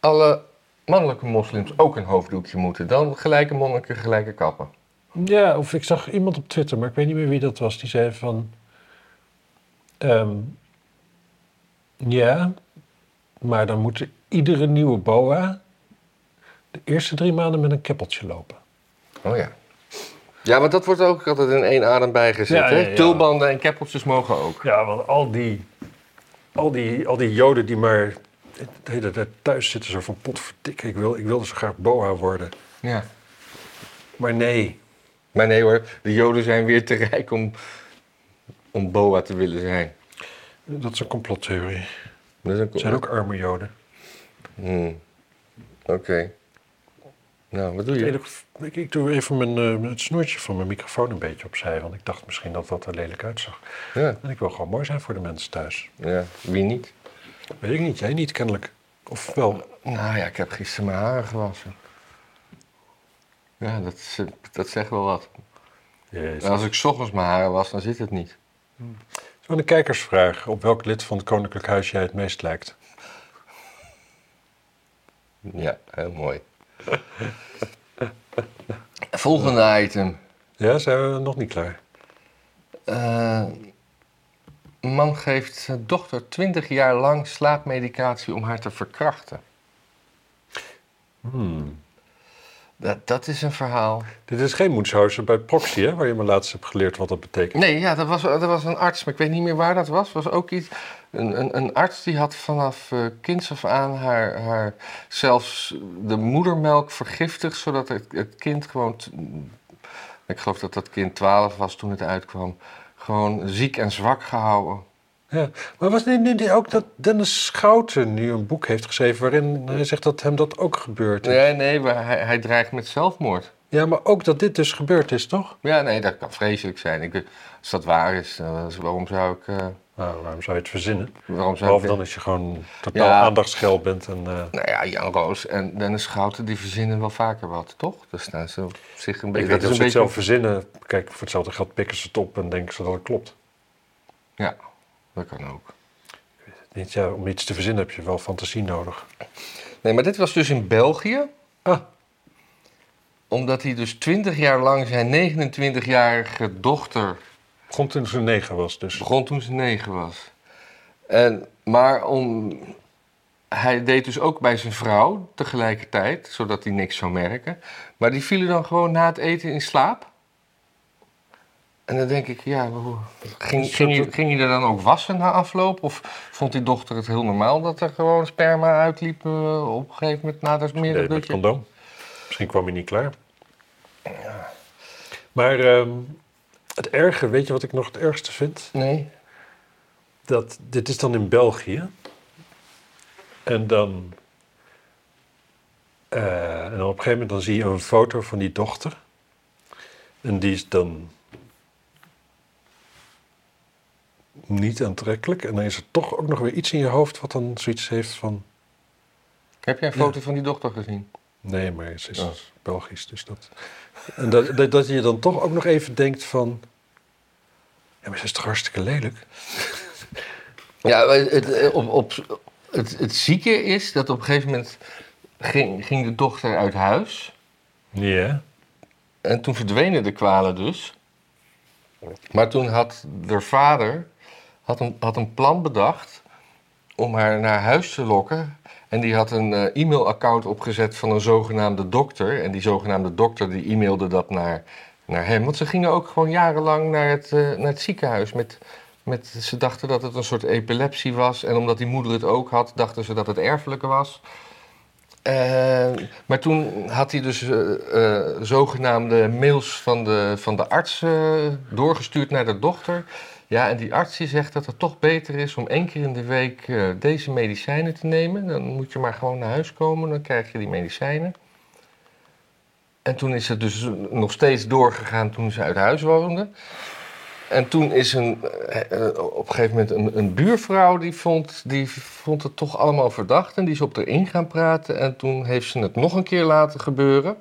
B: alle mannelijke moslims ook een hoofddoekje moeten. Dan gelijke monniken, gelijke kappen.
A: ja, of ik zag iemand op Twitter, maar ik weet niet meer wie dat was. Die zei van... ehm, ja, maar dan moet iedere nieuwe boa de eerste drie maanden met een keppeltje lopen.
B: Oh ja. Ja, want dat wordt ook altijd in één adem bijgezet.
A: Ja,
B: hè?
A: ja, ja.
B: Tulbanden en keppeltjes mogen ook.
A: Ja, want al die, al die, al die joden die maar de hele tijd thuis zitten, zo van potverdikke, ik wil, ik wilde zo graag boa worden.
B: Ja.
A: Maar nee,
B: Maar nee hoor, de Joden zijn weer te rijk om, om boa te willen zijn.
A: Dat is een complottheorie.
B: Dat is een-
A: Het zijn ook arme joden.
B: Hmm. Oké. Nou, wat doe je?
A: Lelijk- Ik, ik doe even mijn, eh, het snoertje van mijn microfoon een beetje opzij, want ik dacht misschien dat dat er lelijk uitzag.
B: Ja,
A: En ik wil gewoon mooi zijn voor de mensen thuis.
B: ja, wie niet?
A: Weet ik niet, jij niet kennelijk. Of wel,
B: Nou ja, ik heb gisteren mijn haren gewassen. Ja, dat, is, eh, dat zegt wel wat.
A: jezus.
B: Als ik 's ochtends mijn haren was, dan zit het niet.
A: Zo'n een kijkersvraag, op welk lid van het koninklijk huis jij het meest lijkt?
B: Ja, heel mooi. [laughs] Volgende item.
A: Ja, zijn we nog niet klaar.
B: Eh, een man geeft zijn dochter 20 jaar lang slaapmedicatie om haar te verkrachten.
A: Hmm.
B: Dat, dat is een verhaal.
A: Dit is geen Moenshausen bij proxy, hè, waar je me laatst hebt geleerd wat dat betekent.
B: Nee, ja, dat was, dat was een arts, maar ik weet niet meer waar dat was. was ook iets, een, een, een arts die had vanaf eh kinds af aan haar, haar zelfs de moedermelk vergiftigd, zodat het, het kind gewoon, t- ik geloof dat dat kind 12 was toen het uitkwam, gewoon ziek en zwak gehouden.
A: Ja. Maar was niet, niet ook dat Dennis Schouten nu een boek heeft geschreven waarin hij zegt dat hem dat ook gebeurd is?
B: Nee, nee, maar hij, hij dreigt met zelfmoord.
A: Ja, maar ook dat dit dus gebeurd is, toch?
B: Ja, nee, dat kan vreselijk zijn. Ik, weet- als dat waar is, dan is- waarom zou ik... eh,
A: Nou, waarom zou je het verzinnen?
B: waarom zou
A: Behalve
B: ik
A: dan als je gewoon totaal
B: Ja.
A: aandachtsgel bent. En, eh,
B: Nou ja, Jan Roos en Dennis Schouten, die verzinnen wel vaker wat, toch? Dus staan ze op zich een
A: ik
B: beetje...
A: weet dat
B: is
A: ze het zelf verzinnen. Kijk, voor hetzelfde geld pikken ze het op en denken ze dat het klopt.
B: Ja, dat kan ook.
A: Niet, ja, om iets te verzinnen heb je wel fantasie nodig.
B: Nee, maar dit was dus in België.
A: Ah.
B: Omdat hij dus 20 jaar lang zijn 29-jarige dochter...
A: Begon toen ze negen was, dus.
B: begon toen ze negen was. En, maar om... Hij deed dus ook bij zijn vrouw tegelijkertijd, zodat hij niks zou merken. Maar die vielen dan gewoon na het eten in slaap. En dan denk ik, ja, hoe- ging, ging, hij, ging hij er dan ook wassen na afloop? Of vond die dochter het heel normaal dat er gewoon sperma uitliep eh, op een gegeven moment na
A: Nee,
B: dat
A: Eh, met
B: middagnutje?
A: condoom. Misschien kwam hij niet klaar. Maar ehm, het erge, weet je wat ik nog het ergste vind?
B: Nee.
A: dat dit is dan in België. En dan, eh, en dan op een gegeven moment dan zie je een foto van die dochter. En die is dan niet aantrekkelijk. En dan is er toch ook nog weer iets in je hoofd wat dan zoiets heeft van...
B: Heb jij een foto van die dochter gezien?
A: Nee, maar ze is
B: Ja.
A: Belgisch, dus dat... En dat, dat, dat je dan toch ook nog even denkt van... Ja, maar ze is toch hartstikke lelijk?
B: Ja, maar het, eh, op, op, het, het zieke is dat op een gegeven moment ging, ging de dochter uit huis.
A: Ja.
B: En toen verdwenen de kwalen dus. Maar toen had haar vader had een, had een plan bedacht om haar naar huis te lokken. En die had een eh, e-mailaccount opgezet van een zogenaamde dokter. En die zogenaamde dokter die e-mailde dat naar, naar hem. Want ze gingen ook gewoon jarenlang naar het, eh, naar het ziekenhuis. Met, met, ze dachten dat het een soort epilepsie was. En omdat die moeder het ook had, dachten ze dat het erfelijke was. Eh, maar toen had hij dus eh, eh, zogenaamde mails van de, van de arts eh, doorgestuurd naar de dochter. Ja, en die arts die zegt dat het toch beter is om één keer in de week eh, deze medicijnen te nemen. Dan moet je maar gewoon naar huis komen, dan krijg je die medicijnen. En toen is het dus nog steeds doorgegaan toen ze uit huis woonde. En toen is een, eh, eh, op een gegeven moment een, een buurvrouw die vond, die vond het toch allemaal verdacht. En die is op haar in gaan praten. En toen heeft ze het nog een keer laten gebeuren.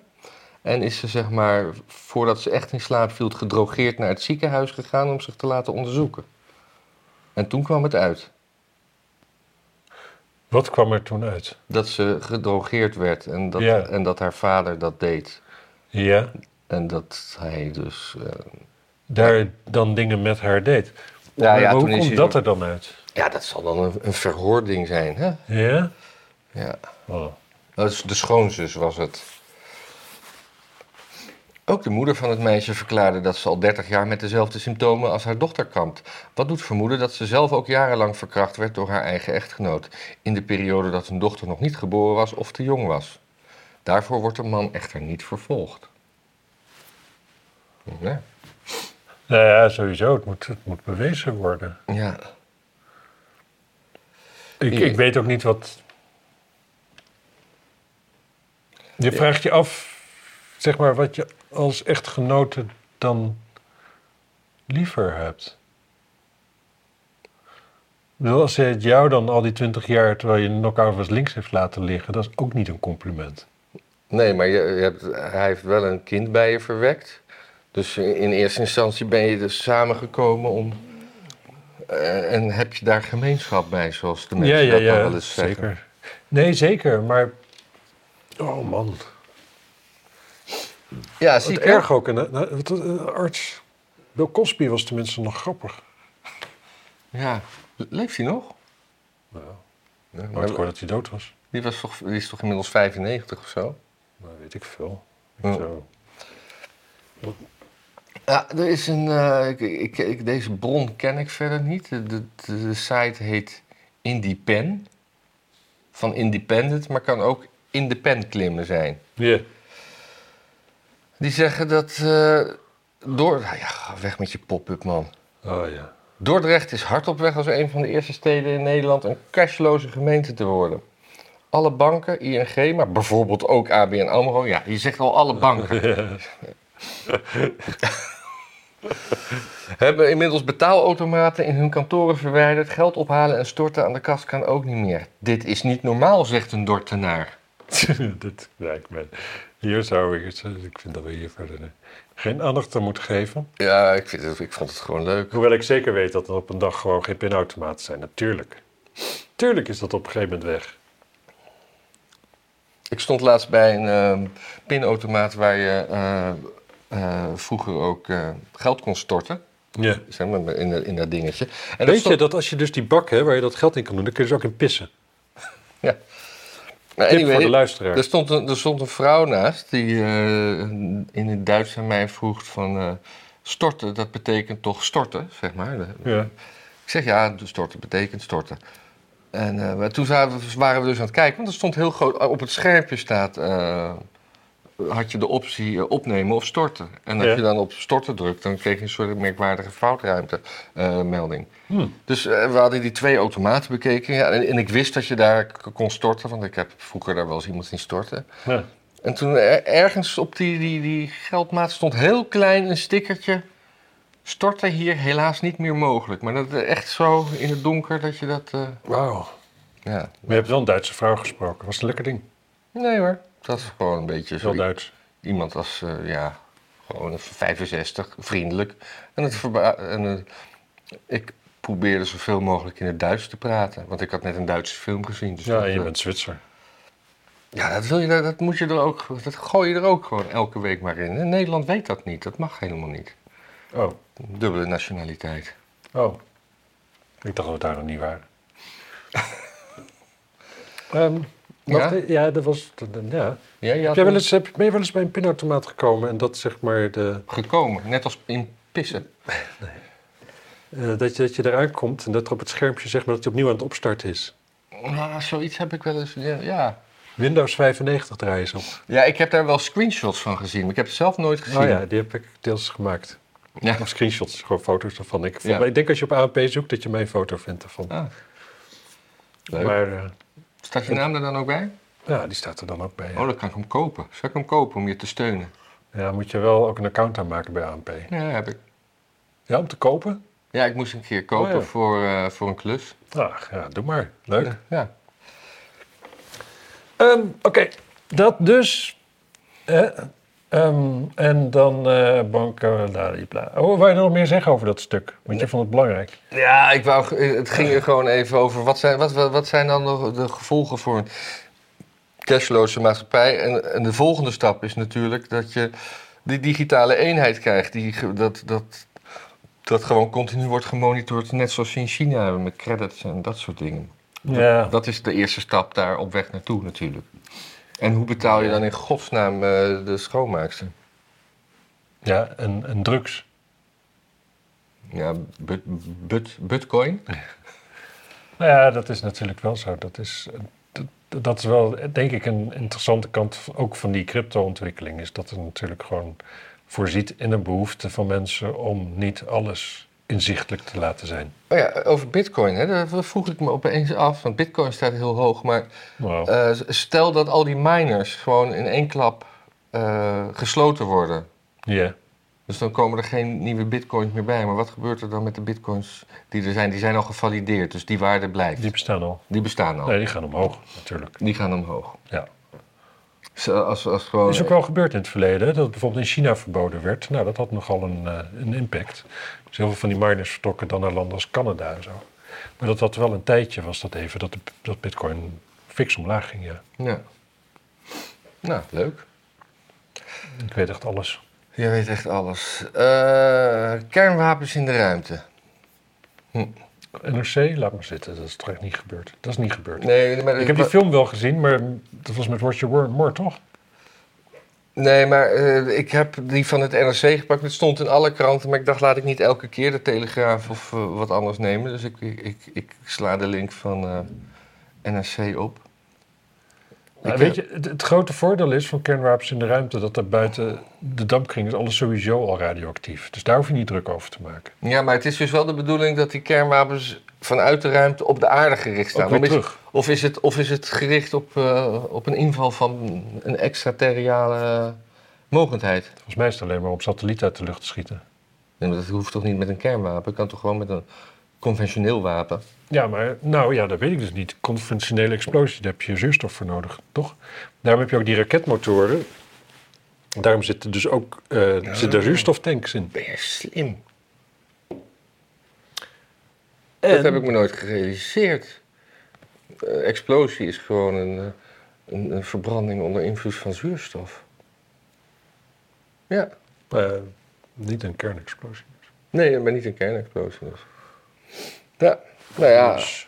B: En is ze, zeg maar, voordat ze echt in slaap viel, gedrogeerd naar het ziekenhuis gegaan om zich te laten onderzoeken. En toen kwam het uit
A: Wat kwam er toen uit?
B: dat ze gedrogeerd werd en dat,
A: Ja.
B: en dat haar vader dat deed.
A: Ja.
B: En dat hij dus. eh,
A: daar dan dingen met haar deed.
B: Ja,
A: Maar
B: ja,
A: hoe
B: toen is
A: komt
B: hij
A: dat
B: zo-
A: er dan uit?
B: ja, dat zal dan een, een verhoording zijn, hè?
A: Ja?
B: Ja.
A: Oh.
B: Dat is Nou, dus de schoonzus was het. Ook de moeder van het meisje verklaarde dat ze al 30 jaar met dezelfde symptomen als haar dochter kampt. Wat doet vermoeden dat ze zelf ook jarenlang verkracht werd door haar eigen echtgenoot. In de periode dat hun dochter nog niet geboren was of te jong was. Daarvoor wordt de man echter niet vervolgd. Ja. Ja.
A: Nou ja, sowieso. Het moet, het moet bewezen worden.
B: ja.
A: Ik,
B: Ja.
A: ik weet ook niet wat. Je vraagt je af, zeg maar, wat je als echtgenote dan liever hebt. Ik bedoel, Als hij het jou dan al die twintig jaar, terwijl je knock-out was, links heeft laten liggen, dat is ook niet een compliment.
B: Nee, maar je, je hebt, hij heeft wel een kind bij je verwekt. Dus in, in eerste instantie ben je dus samengekomen om... eh, en heb je daar gemeenschap bij, zoals de mensen dat dan wel eens zeggen.
A: zeker. Nee, zeker, maar. Oh man.
B: Ja,
A: Het
B: zie ik
A: erg ook, eh, een, arts. Bill Cosby was tenminste nog grappig.
B: Ja, le- leeft hij nog?
A: Nou,
B: Ja,
A: nooit gehoord dat hij dood was.
B: die, was toch, die is toch inmiddels 95 of zo?
A: Nou, weet ik veel.
B: Ja.
A: Zo.
B: Ja, er is een. eh, ik, ik, ik- deze bron ken ik verder niet. De, de, de site heet IndiePen. Van Independent, maar kan ook in de pen klimmen zijn. Die zeggen dat. eh, door, nou ja, ga weg met je pop-up man.
A: Oh ja. [laughs]
B: Dordrecht is hard op weg als een van de eerste steden in Nederland een cashloze gemeente te worden. Alle banken, ING, maar bijvoorbeeld ook ABN AMRO. Ja, je zegt al alle banken. [laughs] Hebben inmiddels betaalautomaten in hun kantoren verwijderd. Geld ophalen en storten aan de kast kan ook niet meer. Dit is niet normaal, zegt een Dordtenaar.
A: Dit lijkt me. Hier zou ik het. Ik vind dat we hier verder eh, geen aandacht aan moeten geven.
B: Ja, ik, vind het, ik vond het gewoon leuk.
A: Hoewel ik zeker weet dat er op een dag gewoon geen pinautomaten zijn. Natuurlijk. Tuurlijk is dat op een gegeven moment weg.
B: Ik stond laatst bij een ehm, pinautomaat waar je eh, eh, vroeger ook eh, geld kon storten.
A: Ja.
B: zeg maar, in, dat- in dat dingetje. En
A: Weet je
B: stond-
A: dat als je dus die bak hebt waar je dat geld in kan doen, dan kun je dus ook in pissen.
B: Ja. Maar
A: Tip voor de
B: anyway,
A: luisteraar.
B: er stond, een, er stond een vrouw naast die eh, in het Duits aan mij vroeg van... eh, storten, dat betekent toch storten, zeg maar.
A: Ja.
B: Ik zeg ja, storten betekent storten. En eh, maar toen zaten we- waren we dus aan het kijken, want er stond heel groot... Op het schermpje staat... eh, had je de optie eh, opnemen of storten. En als
A: Ja.
B: je dan op storten drukt, dan kreeg je een soort merkwaardige foutruimte-melding.
A: Hmm.
B: Dus eh, we hadden die twee automaten bekeken. Ja, en, en ik wist dat je daar k- kon storten, want ik heb vroeger daar wel eens iemand zien storten.
A: Ja.
B: En toen er- ergens op die, die, die geldmaat stond heel klein een stickertje. Storten hier helaas niet meer mogelijk. Maar dat eh, echt zo in het donker dat je dat. eh,
A: Wauw.
B: ja.
A: Maar je hebt wel een Duitse vrouw gesproken. Was een lekker ding.
B: Nee hoor. Dat is gewoon een beetje
A: Heel
B: zo.
A: Duits.
B: Iemand als, eh, ja, gewoon een 65, vriendelijk. En, het verba- en eh, ik probeerde zoveel mogelijk in het Duits te praten. Want ik had net een Duitse film gezien. Dus
A: Ja,
B: dat,
A: en je
B: eh,
A: bent Zwitser.
B: Ja, dat, wil je, dat dat moet je er ook, dat gooi je er ook gewoon elke week maar in. En Nederland weet dat niet, dat mag helemaal niet.
A: Oh.
B: Dubbele nationaliteit.
A: Oh. Ik dacht dat we daar nog niet waren. [laughs] Ehm, wacht,
B: Ja?
A: ja? dat was... dat- dat- ja.
B: Ja, je
A: Heb
B: had
A: jij wel
B: een-
A: eens, heb, ben je wel eens bij een pinautomaat gekomen en dat zeg maar de,
B: gekomen, net als in pissen.
A: eh, dat, je, dat je eraan komt en dat er op het schermpje zeg maar dat hij opnieuw aan het opstarten is?
B: Nou, zoiets heb ik wel eens, ja, ja.
A: Windows 95 draaien ze op.
B: Ja, ik heb daar wel screenshots van gezien, maar ik heb het zelf nooit gezien.
A: Oh ja, die heb ik deels gemaakt.
B: Ja.
A: Of screenshots, gewoon foto's ervan. Ik,
B: Ja.
A: ik denk als je op ANP zoekt dat je mijn foto vindt ervan.
B: Ah. Leuk.
A: Maar eh,
B: Staat je naam er dan ook bij?
A: ja, die staat er dan ook bij. ja.
B: Oh, dan kan ik hem kopen. Zal ik hem kopen om je te steunen?
A: Ja, moet je wel ook een account aanmaken bij ANP.
B: Ja, heb ik.
A: Ja, om te kopen?
B: Ja, ik moest een keer kopen
A: Oh, ja.
B: voor, eh, voor een klus.
A: Ah, ja, doe maar. Leuk.
B: Ja.
A: Ehm, Oké, dat dus. Eh, ehm, en dan eh banken, ladibla. Oh, wou je nog meer zeggen over dat stuk? Want je vond het belangrijk.
B: Ja, ik wou, eh, het ging er gewoon even over. Wat zijn, wat, wat, wat zijn dan nog de gevolgen voor een cashloze maatschappij? En, en de volgende stap is natuurlijk dat je die digitale eenheid krijgt. Die, ge- dat, dat, dat gewoon continu wordt gemonitord. Net zoals ze in China hebben met credits en dat soort dingen.
A: Ja.
B: Dat is de eerste stap daar op weg naartoe natuurlijk. En hoe betaal je dan in godsnaam eh, de schoonmaakster?
A: Ja, en, en drugs.
B: Ja, but, but, bitcoin?
A: Nou ja, dat is natuurlijk wel zo. Dat is, dat, dat is wel, denk ik, een interessante kant ook van die crypto-ontwikkeling. Is dat er natuurlijk gewoon voorziet in de behoefte van mensen om niet alles inzichtelijk te laten zijn.
B: Oh ja, over bitcoin, hè, daar vroeg ik me opeens af, want bitcoin staat heel hoog, maar
A: Nou,
B: eh, stel dat al die miners gewoon in één klap eh, gesloten worden.
A: ja.
B: Dus dan komen er geen nieuwe bitcoins meer bij. Maar wat gebeurt er dan met de bitcoins die er zijn? Die zijn al gevalideerd, dus die waarde blijft.
A: die
B: Die,
A: bestaan al.
B: bestaan al.
A: Nee, die gaan omhoog natuurlijk.
B: Die gaan omhoog.
A: Ja.
B: Zo, Als, als
A: Dat
B: gewoon...
A: is ook wel gebeurd in het verleden, hè, dat het bijvoorbeeld in China verboden werd. Nou, dat had nogal een, eh, een impact. Dus heel veel van die miners vertrokken dan naar landen als Canada en zo. Maar dat had wel een tijdje, was dat even, dat, de, dat bitcoin fix omlaag ging, ja.
B: Ja. Nou, leuk.
A: Ik weet echt alles.
B: Je weet echt alles. Eh, kernwapens in de ruimte.
A: NRC, laat maar zitten, dat is toch echt niet gebeurd. Dat is niet gebeurd.
B: Nee, maar,
A: Ik heb die film wel gezien, maar dat was met Roger Moore, Moore toch?
B: nee, maar eh, ik heb die van het NRC gepakt. Het stond in alle kranten, maar ik dacht laat ik niet elke keer de Telegraaf of eh, wat anders nemen. Dus ik, ik, ik, ik sla de link van eh, NRC op.
A: Nou,
B: Ik,
A: weet
B: eh,
A: je, het, het grote voordeel is van kernwapens in de ruimte dat daar buiten de dampkring is alles sowieso al radioactief. Dus daar hoef je niet druk over te maken.
B: Ja, maar het is dus wel de bedoeling dat die kernwapens vanuit de ruimte op de aarde gericht
A: Ook
B: staan.
A: weer
B: Of is,
A: terug.
B: of, is het, of is het gericht op, eh, op een inval van een extraterriale eh, mogendheid?
A: Volgens mij is het alleen maar om satellieten uit de lucht te schieten.
B: Nee, maar dat hoeft toch niet met een kernwapen? Het kan toch gewoon met een conventioneel wapen?
A: Ja, maar nou ja, dat weet ik dus niet. Conventionele explosie, daar heb je zuurstof voor nodig, toch? Daarom heb je ook die raketmotoren. Daarom zitten dus ook eh zitten daar zuurstoftanks in.
B: Ben je slim?
A: En-
B: Dat heb ik me nooit gerealiseerd. Eh, explosie is gewoon een, eh, een, een verbranding onder invloed van zuurstof. Ja,
A: Eh, niet een kernexplosie.
B: nee, maar niet een kernexplosie dus. Ja, nou ja.
A: Dus,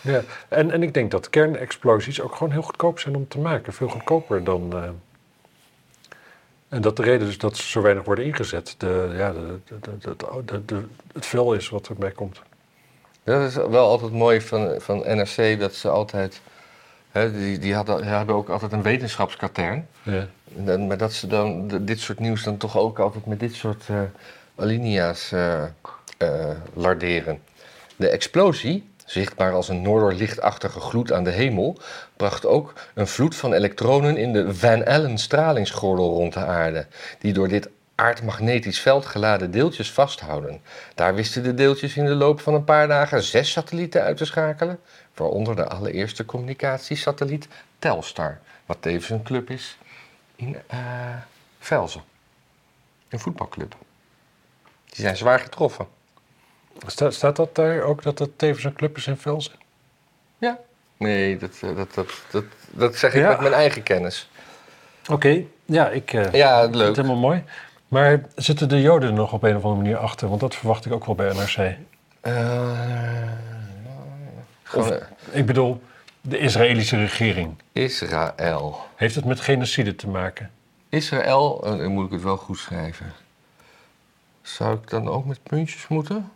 A: ja. En, en ik denk dat kernexplosies ook gewoon heel goedkoop zijn om te maken. Veel goedkoper dan. eh, en dat de reden dus dat ze zo weinig worden ingezet. De, ja, de, de, de, de- de- de- het vuil is wat erbij komt.
B: Dat is wel altijd mooi van, van NRC dat ze altijd... Hè, die die hadden, hebben ook altijd een wetenschapskatern.
A: Ja.
B: En Dan, maar dat ze dan d- dit soort nieuws dan toch ook altijd met dit soort eh, alinea's eh, eh, larderen. De explosie, zichtbaar als een noorderlichtachtige gloed aan de hemel, bracht ook een vloed van elektronen in de Van Allen stralingsgordel rond de aarde, die door dit aardmagnetisch veld geladen deeltjes vasthouden. Daar wisten de deeltjes in de loop van een paar dagen zes satellieten uit te schakelen, waaronder de allereerste communicatiesatelliet Telstar, wat tevens een club is in eh Velzen. Een voetbalclub. Die zijn zwaar getroffen.
A: Sta- staat dat daar ook dat dat tevens een club is in Velsen?
B: Ja. Nee, dat, eh, dat, dat, dat, dat zeg ik
A: Ja.
B: met mijn eigen kennis.
A: Oké, ja, ik eh,
B: Ja,
A: vind het
B: leuk.
A: helemaal mooi. Maar zitten de Joden er nog op een of andere manier achter? Want dat verwacht ik ook wel bij NRC.
B: Eh, gewoon, eh,
A: Ik bedoel, de Israëlische regering.
B: Israël.
A: Heeft het met genocide te maken?
B: Israël, eh, dan moet ik het wel goed schrijven. Zou ik dan ook met puntjes moeten?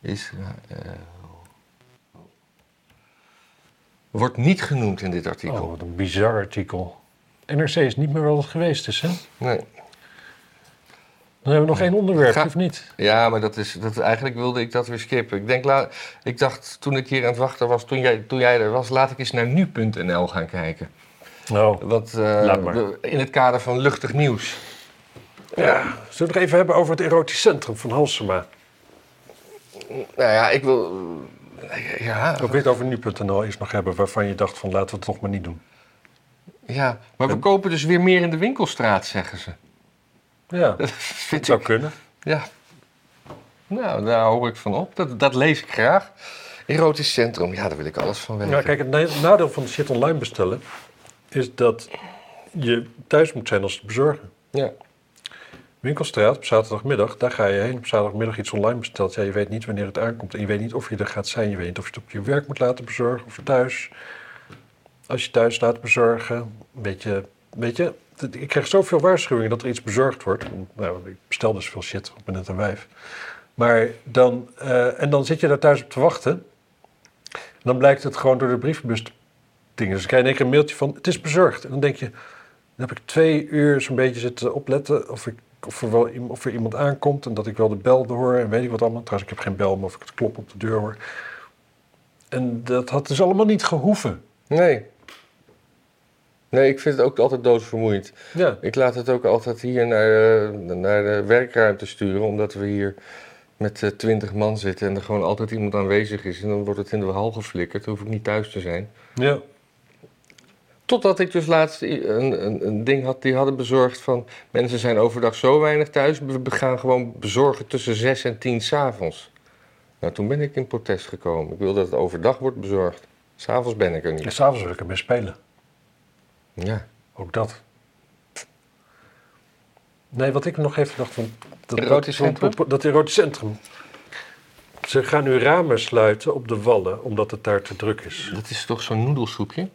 B: Israël. Wordt niet genoemd in dit artikel.
A: Oh, wat een bizar artikel. NRC is niet meer wat het geweest is, hè?
B: Nee.
A: Dan hebben we nog één onderwerp,
B: Ga-
A: of niet?
B: Ja, maar dat is, dat, eigenlijk wilde ik dat weer skippen. Ik, denk, la, ik dacht toen ik hier aan het wachten was, toen jij, toen jij er was, laat ik eens naar nu.nl gaan kijken.
A: Nou,
B: Want eh,
A: Laat maar.
B: de- in het kader van luchtig nieuws.
A: ja. Zullen we het nog even hebben over het erotisch centrum van Halsema?
B: Nou ja, ik wil. eh, Ja,
A: Ook dit over nu.nl eerst nog hebben, waarvan je dacht van laten we het toch maar niet doen.
B: ja, maar we kopen dus weer meer in de winkelstraat, zeggen ze.
A: Ja,
B: Dat
A: het
B: [laughs] vind
A: zou
B: ik.
A: kunnen.
B: Ja. Nou, daar hou ik van op. Dat, dat lees ik graag. Erotisch centrum, ja, daar wil ik alles van weten.
A: Ja, Nou, kijk, het na- nadeel van shit online bestellen is dat je thuis moet zijn als het bezorgen.
B: Ja.
A: Winkelstraat op zaterdagmiddag, daar ga je heen. Op zaterdagmiddag iets online besteld. Ja, je weet niet wanneer het aankomt. En je weet niet of je er gaat zijn. Je weet niet of je het op je werk moet laten bezorgen of thuis. Als je thuis laat bezorgen. Weet je, weet je t- ik krijg zoveel waarschuwingen dat er iets bezorgd wordt. Nou, ik bestel dus veel shit. Ik ben net een wijf. Maar dan, eh, en dan zit je daar thuis op te wachten. En dan blijkt het gewoon door de brievenbus te dingen. Dus dan krijg je in één keer een mailtje van, het is bezorgd. En dan denk je, Dan heb ik twee uur zo'n beetje zitten opletten of, ik, of, er wel, iem- of er iemand aankomt en dat ik wel de bel hoor en weet ik wat allemaal. Trouwens, ik heb geen bel, maar of ik het klop op de deur hoor. En dat had dus allemaal niet gehoeven.
B: Nee. Nee, ik vind het ook altijd doodvermoeiend.
A: Ja,
B: Ik laat het ook altijd hier naar, eh, naar de werkruimte sturen, omdat we hier met eh, twintig man zitten en er gewoon altijd iemand aanwezig is. En dan wordt het in de hal geflikkerd, dan hoef ik niet thuis te zijn.
A: ja.
B: Totdat ik dus laatst i- een, een, een ding had, die hadden bezorgd van... mensen zijn overdag zo weinig thuis, we we gaan gewoon bezorgen tussen 6 en 10 s'avonds. Nou, toen ben ik in protest gekomen. Ik wil dat het overdag wordt bezorgd. S'avonds ben ik er
A: En
B: niet.
A: s'avonds wil ik ermee spelen.
B: Ja.
A: Ook dat. Nee, wat ik nog even dacht van... Dat,
B: Erotisch
A: dat-
B: centrum?
A: Dat, dat erotisch centrum. Ze gaan nu ramen sluiten op de wallen, omdat het daar te druk is.
B: Dat is toch zo'n noedelsoepje?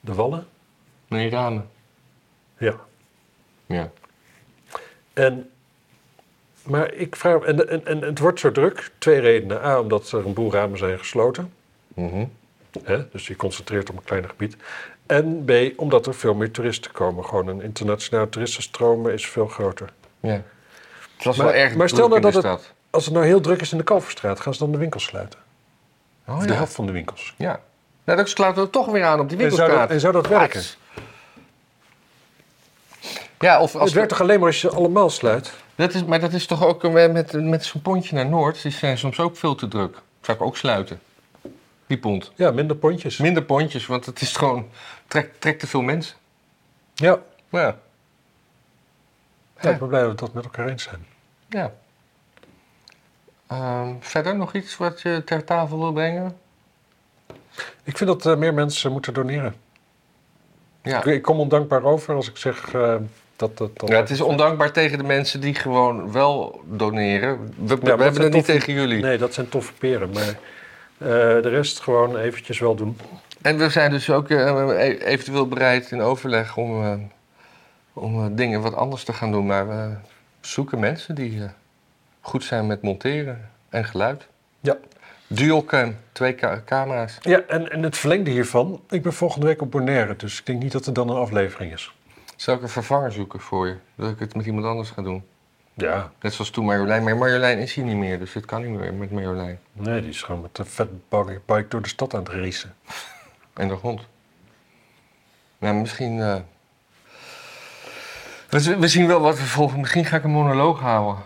A: De wallen?
B: Nee, ramen.
A: Ja.
B: Ja.
A: En, maar ik vraag... En, en, en het wordt zo druk. Twee redenen. A, omdat er een boel ramen zijn gesloten.
B: Mhm.
A: Hè? Dus je concentreert op een kleiner gebied. En B, omdat er veel meer toeristen komen. Gewoon een internationale toeristenstroom is veel groter.
B: ja. Het was
A: Maar-
B: wel erg
A: maar
B: maar
A: stel
B: stel
A: nou
B: in de
A: dat het-
B: stad.
A: Als het nou heel druk is in de Kalverstraat, gaan ze dan de winkels sluiten?
B: Oh,
A: De
B: ja.
A: helft van de winkels.
B: ja. Nou, dat slaat er toch weer aan op die
A: En zou, dat,
B: winkelstraat.
A: en zou dat werken?
B: Arts. Ja, of als
A: het werkt toch alleen maar als je alleen sluit?
B: Dat is, maar dat is toch ook eh, met, met zo'n pontje naar Noord. Die zijn soms ook veel te druk. Zou ik ook sluiten. Die pont.
A: Ja, minder pontjes.
B: Minder pontjes, want het is gewoon. trekt trekt te veel mensen.
A: Ja.
B: Ja.
A: Ja, ik ben blij dat we dat met elkaar eens zijn.
B: ja. Ehm, verder nog iets wat je ter tafel wil brengen?
A: Ik vind dat eh, meer mensen moeten doneren.
B: Ja.
A: Ik, ik kom ondankbaar over als ik zeg eh, dat dat... dat
B: ja, het is ondankbaar tegen de mensen die gewoon wel doneren. We, we
A: dat
B: hebben
A: zijn
B: het niet
A: toch-
B: tegen jullie.
A: Nee, dat zijn toffe peren. Maar eh, de rest gewoon eventjes wel doen.
B: En we zijn dus ook eh, e- eventueel bereid in overleg om, eh, om eh, dingen wat anders te gaan doen. Maar we zoeken mensen die eh, goed zijn met monteren en geluid.
A: Ja.
B: Dualcam, twee ca- camera's.
A: Ja, en, en het verlengde hiervan. Ik ben volgende week op Bonaire, dus ik denk niet dat er dan een aflevering is.
B: Zal ik een vervanger zoeken voor je? Dat ik het met iemand anders ga doen.
A: Ja.
B: Net zoals toen Marjolein. Maar Marjolein is hier niet meer, dus het kan niet meer met Marjolein.
A: Nee, die is gewoon met een vet bike bike door de stad aan het racen.
B: En de hond. Nou, misschien... eh, we, z- we zien wel wat we volgen. Misschien ga ik een monoloog houden.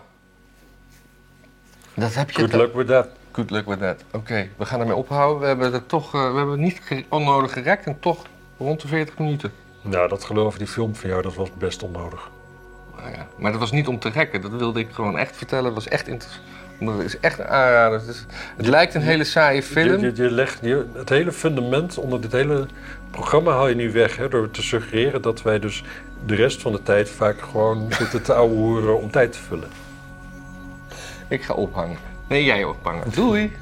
B: Dat heb je...
A: Good
B: toch-
A: luck with that.
B: Good luck with that. Oké, we gaan ermee ophouden. We hebben het toch, eh, we hebben het niet ge- onnodig gerekt en toch rond de 40 minuten.
A: Nou, dat geloven, die film van jou, dat was best onnodig.
B: Nou ja, maar dat was niet om te rekken. Dat wilde ik gewoon echt vertellen. Dat was echt interessant. Dat is echt een aanrader. Het, is- het lijkt een hele saaie
A: Je,
B: film.
A: je, je legt je- het hele fundament onder dit hele programma haal je nu weg. Hè, door te suggereren dat wij dus de rest van de tijd vaak gewoon zitten te ouwehoeren om tijd te vullen.
B: Ik ga ophangen. Nee, jij ophangen. Doei!